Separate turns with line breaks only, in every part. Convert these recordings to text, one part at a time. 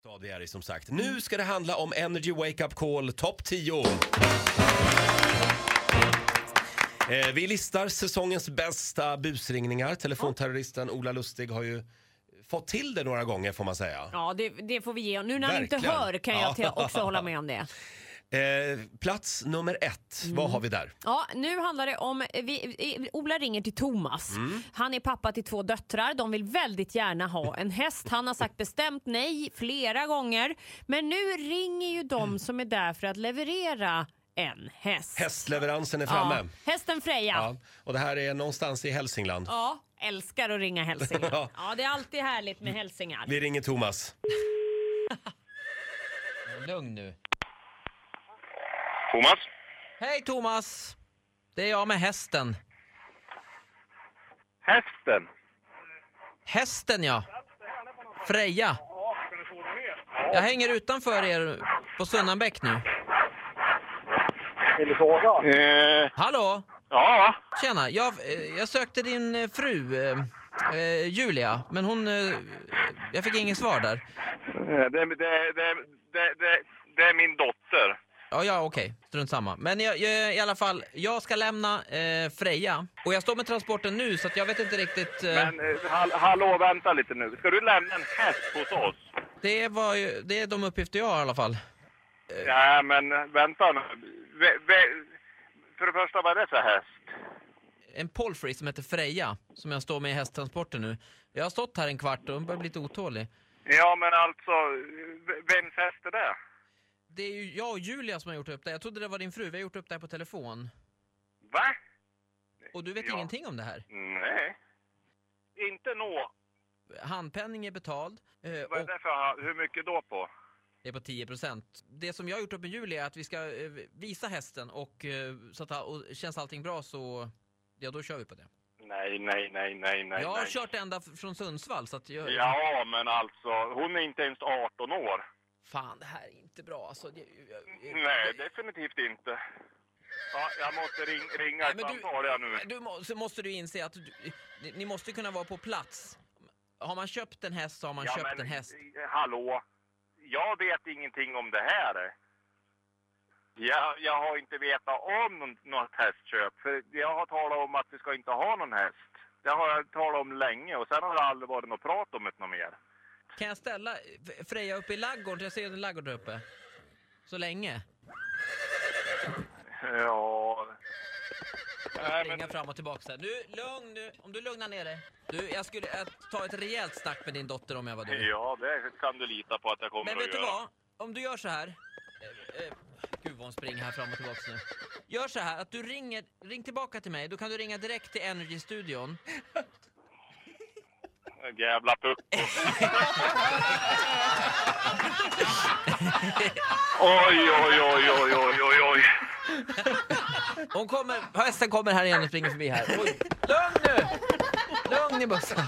stad vi är i som sagt. Nu ska det handla om Energy Wake Up Call topp 10. Eh, vi listar säsongens bästa busringningar. Telefonterroristen Ola Lustig har ju fått till det några gånger får man säga.
Ja, det, det får vi ge Nu när han inte
Verkligen.
hör kan jag
Ja.
till- också hålla med om det.
Eh, plats nummer ett, vad har vi där?
Ja, nu handlar det om... Vi, eh, Ola ringer till Thomas.
Mm.
Han är pappa till två döttrar. De vill väldigt gärna ha en häst. Han har sagt bestämt nej flera gånger. Men nu ringer ju
Mm.
de som är där för att leverera en häst.
Hästleveransen är
ja.
framme.
Hästen Freja.
Ja.
Ja.
och det här är någonstans i Hälsingland.
älskar att ringa hälsingar.
Ja.
ja, det är alltid härligt med hälsingar.
Vi ringer Thomas.
Lugn nu.
Thomas?
Hej Thomas! Det är jag med hästen.
Hästen?
Hästen ja. Freja. Jag hänger utanför er på Sunnanbäck nu.
Eh,
Hallå!
ja,
Tjena, jag, eh, jag sökte din eh, fru eh, eh, Julia, men hon... eh, Jag fick inget svar där.
Eh, det, det, det, det, det, det är min dotter.
Ja, ja, okej. Strunt samma. Men jag, jag, i alla fall, jag ska lämna eh, Freja. Och jag står med transporten nu, så att jag vet inte riktigt... Eh,
Men eh, hall, hallå, vänta lite nu. Ska du lämna en häst hos oss?
det, var ju, det är de uppgifter jag har i alla fall.
Nej, men eh, vänta nu. Ve- ve- för det första, vad är det för häst?
en polfrey som heter Freja, som jag står med i hästtransporten nu. Jag har stått här en kvart och hon börjar bli lite otålig.
Ja, men alltså, v- vems häst är det?
Det är ju jag och Julia som har gjort upp det. Jag trodde det var din fru, vi har gjort upp det här på telefon.
Va?
Och du vet
Ja.
ingenting om det här.
Nej. Inte nå.
Handpenning är betald eh,
Vad är
och
det för, hur mycket då på?
det är på 10%. Det som jag har gjort upp med Julia är att vi ska eh, visa hästen och, eh, så att, och känns allting bra så ja, då kör vi på det.
Nej, nej, nej, nej, nej.
jag har
nej.
kört ända f- från Sundsvall så att jag...
Ja, men alltså, hon är inte ens 18 år.
Fan, det här är inte bra alltså. Det- jag- jag-
Nej, definitivt inte. Ja, jag måste ring, ringa
Nej,
ett
men du-
samtal här nu.
Du må, så måste du inse att du, ni, ni måste kunna vara på plats. Har man köpt en häst så har man
ja,
köpt
men,
en häst.
eh, Hallå? Jag vet ingenting om det här. Jag, jag har inte vetat om någon- något hästköp. För jag har talat om att vi ska inte ha någon häst. Det har jag talat om länge och sen har det aldrig varit något prat om det något mer.
Kan jag ställa F- Freja uppe i laggården? Jag ser en laggård där uppe. Så länge.
Ja... Nej, men
Springa fram och tillbaka så här. Du, lugn nu. Om du lugnar ner dig. Du, jag skulle eh, ta ett rejält snack med din dotter om jag var du.
ja, det kan du lita på att jag kommer
Men
att
vet du
göra.
vad? Om du gör så här. Eh, eh, Gud vad hon springer här fram och tillbaka nu. Gör så här att du ringer, ring tillbaka till mig. Då kan du ringa direkt till Energy-studion.
Jävla pucko. oj, oj, oj, oj, oj, oj, oj.
Hon kommer, hästen kommer här igen och springer förbi här. Oj. Lugn nu! Lugn i bussen.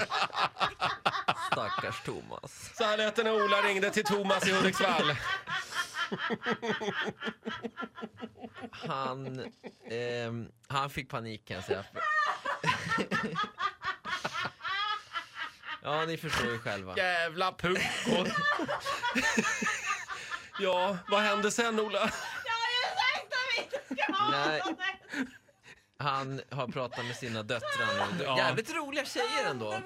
Stackars Thomas.
Så här lät det när Ola ringde till Thomas i Hudiksvall.
Han, ehm, han fick panik kan jag säga. Ja, ni förstår ju själva.
Jävla puckon. ja, vad hände sen Ola?
Nej. Han har pratat med sina döttrar nu.
Ja.
Jävligt roliga tjejer ändå.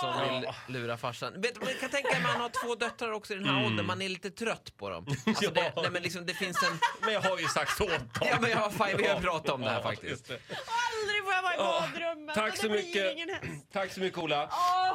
Som vill lura farsan. Vet du, man kan tänka mig att man har två döttrar också i den här åldern. Man är lite trött på dem. Alltså det,
Mm. Ja.
nej men liksom, det finns en...
Men jag har ju sagt åt dem.
Ja, men ja, fan, vi har pratat om det här faktiskt.
Aldrig får jag vara i
Ja.
badrummet.
Tack
Det
så
blir
mycket.
ingen häst.
Tack så mycket Ola.
Åh,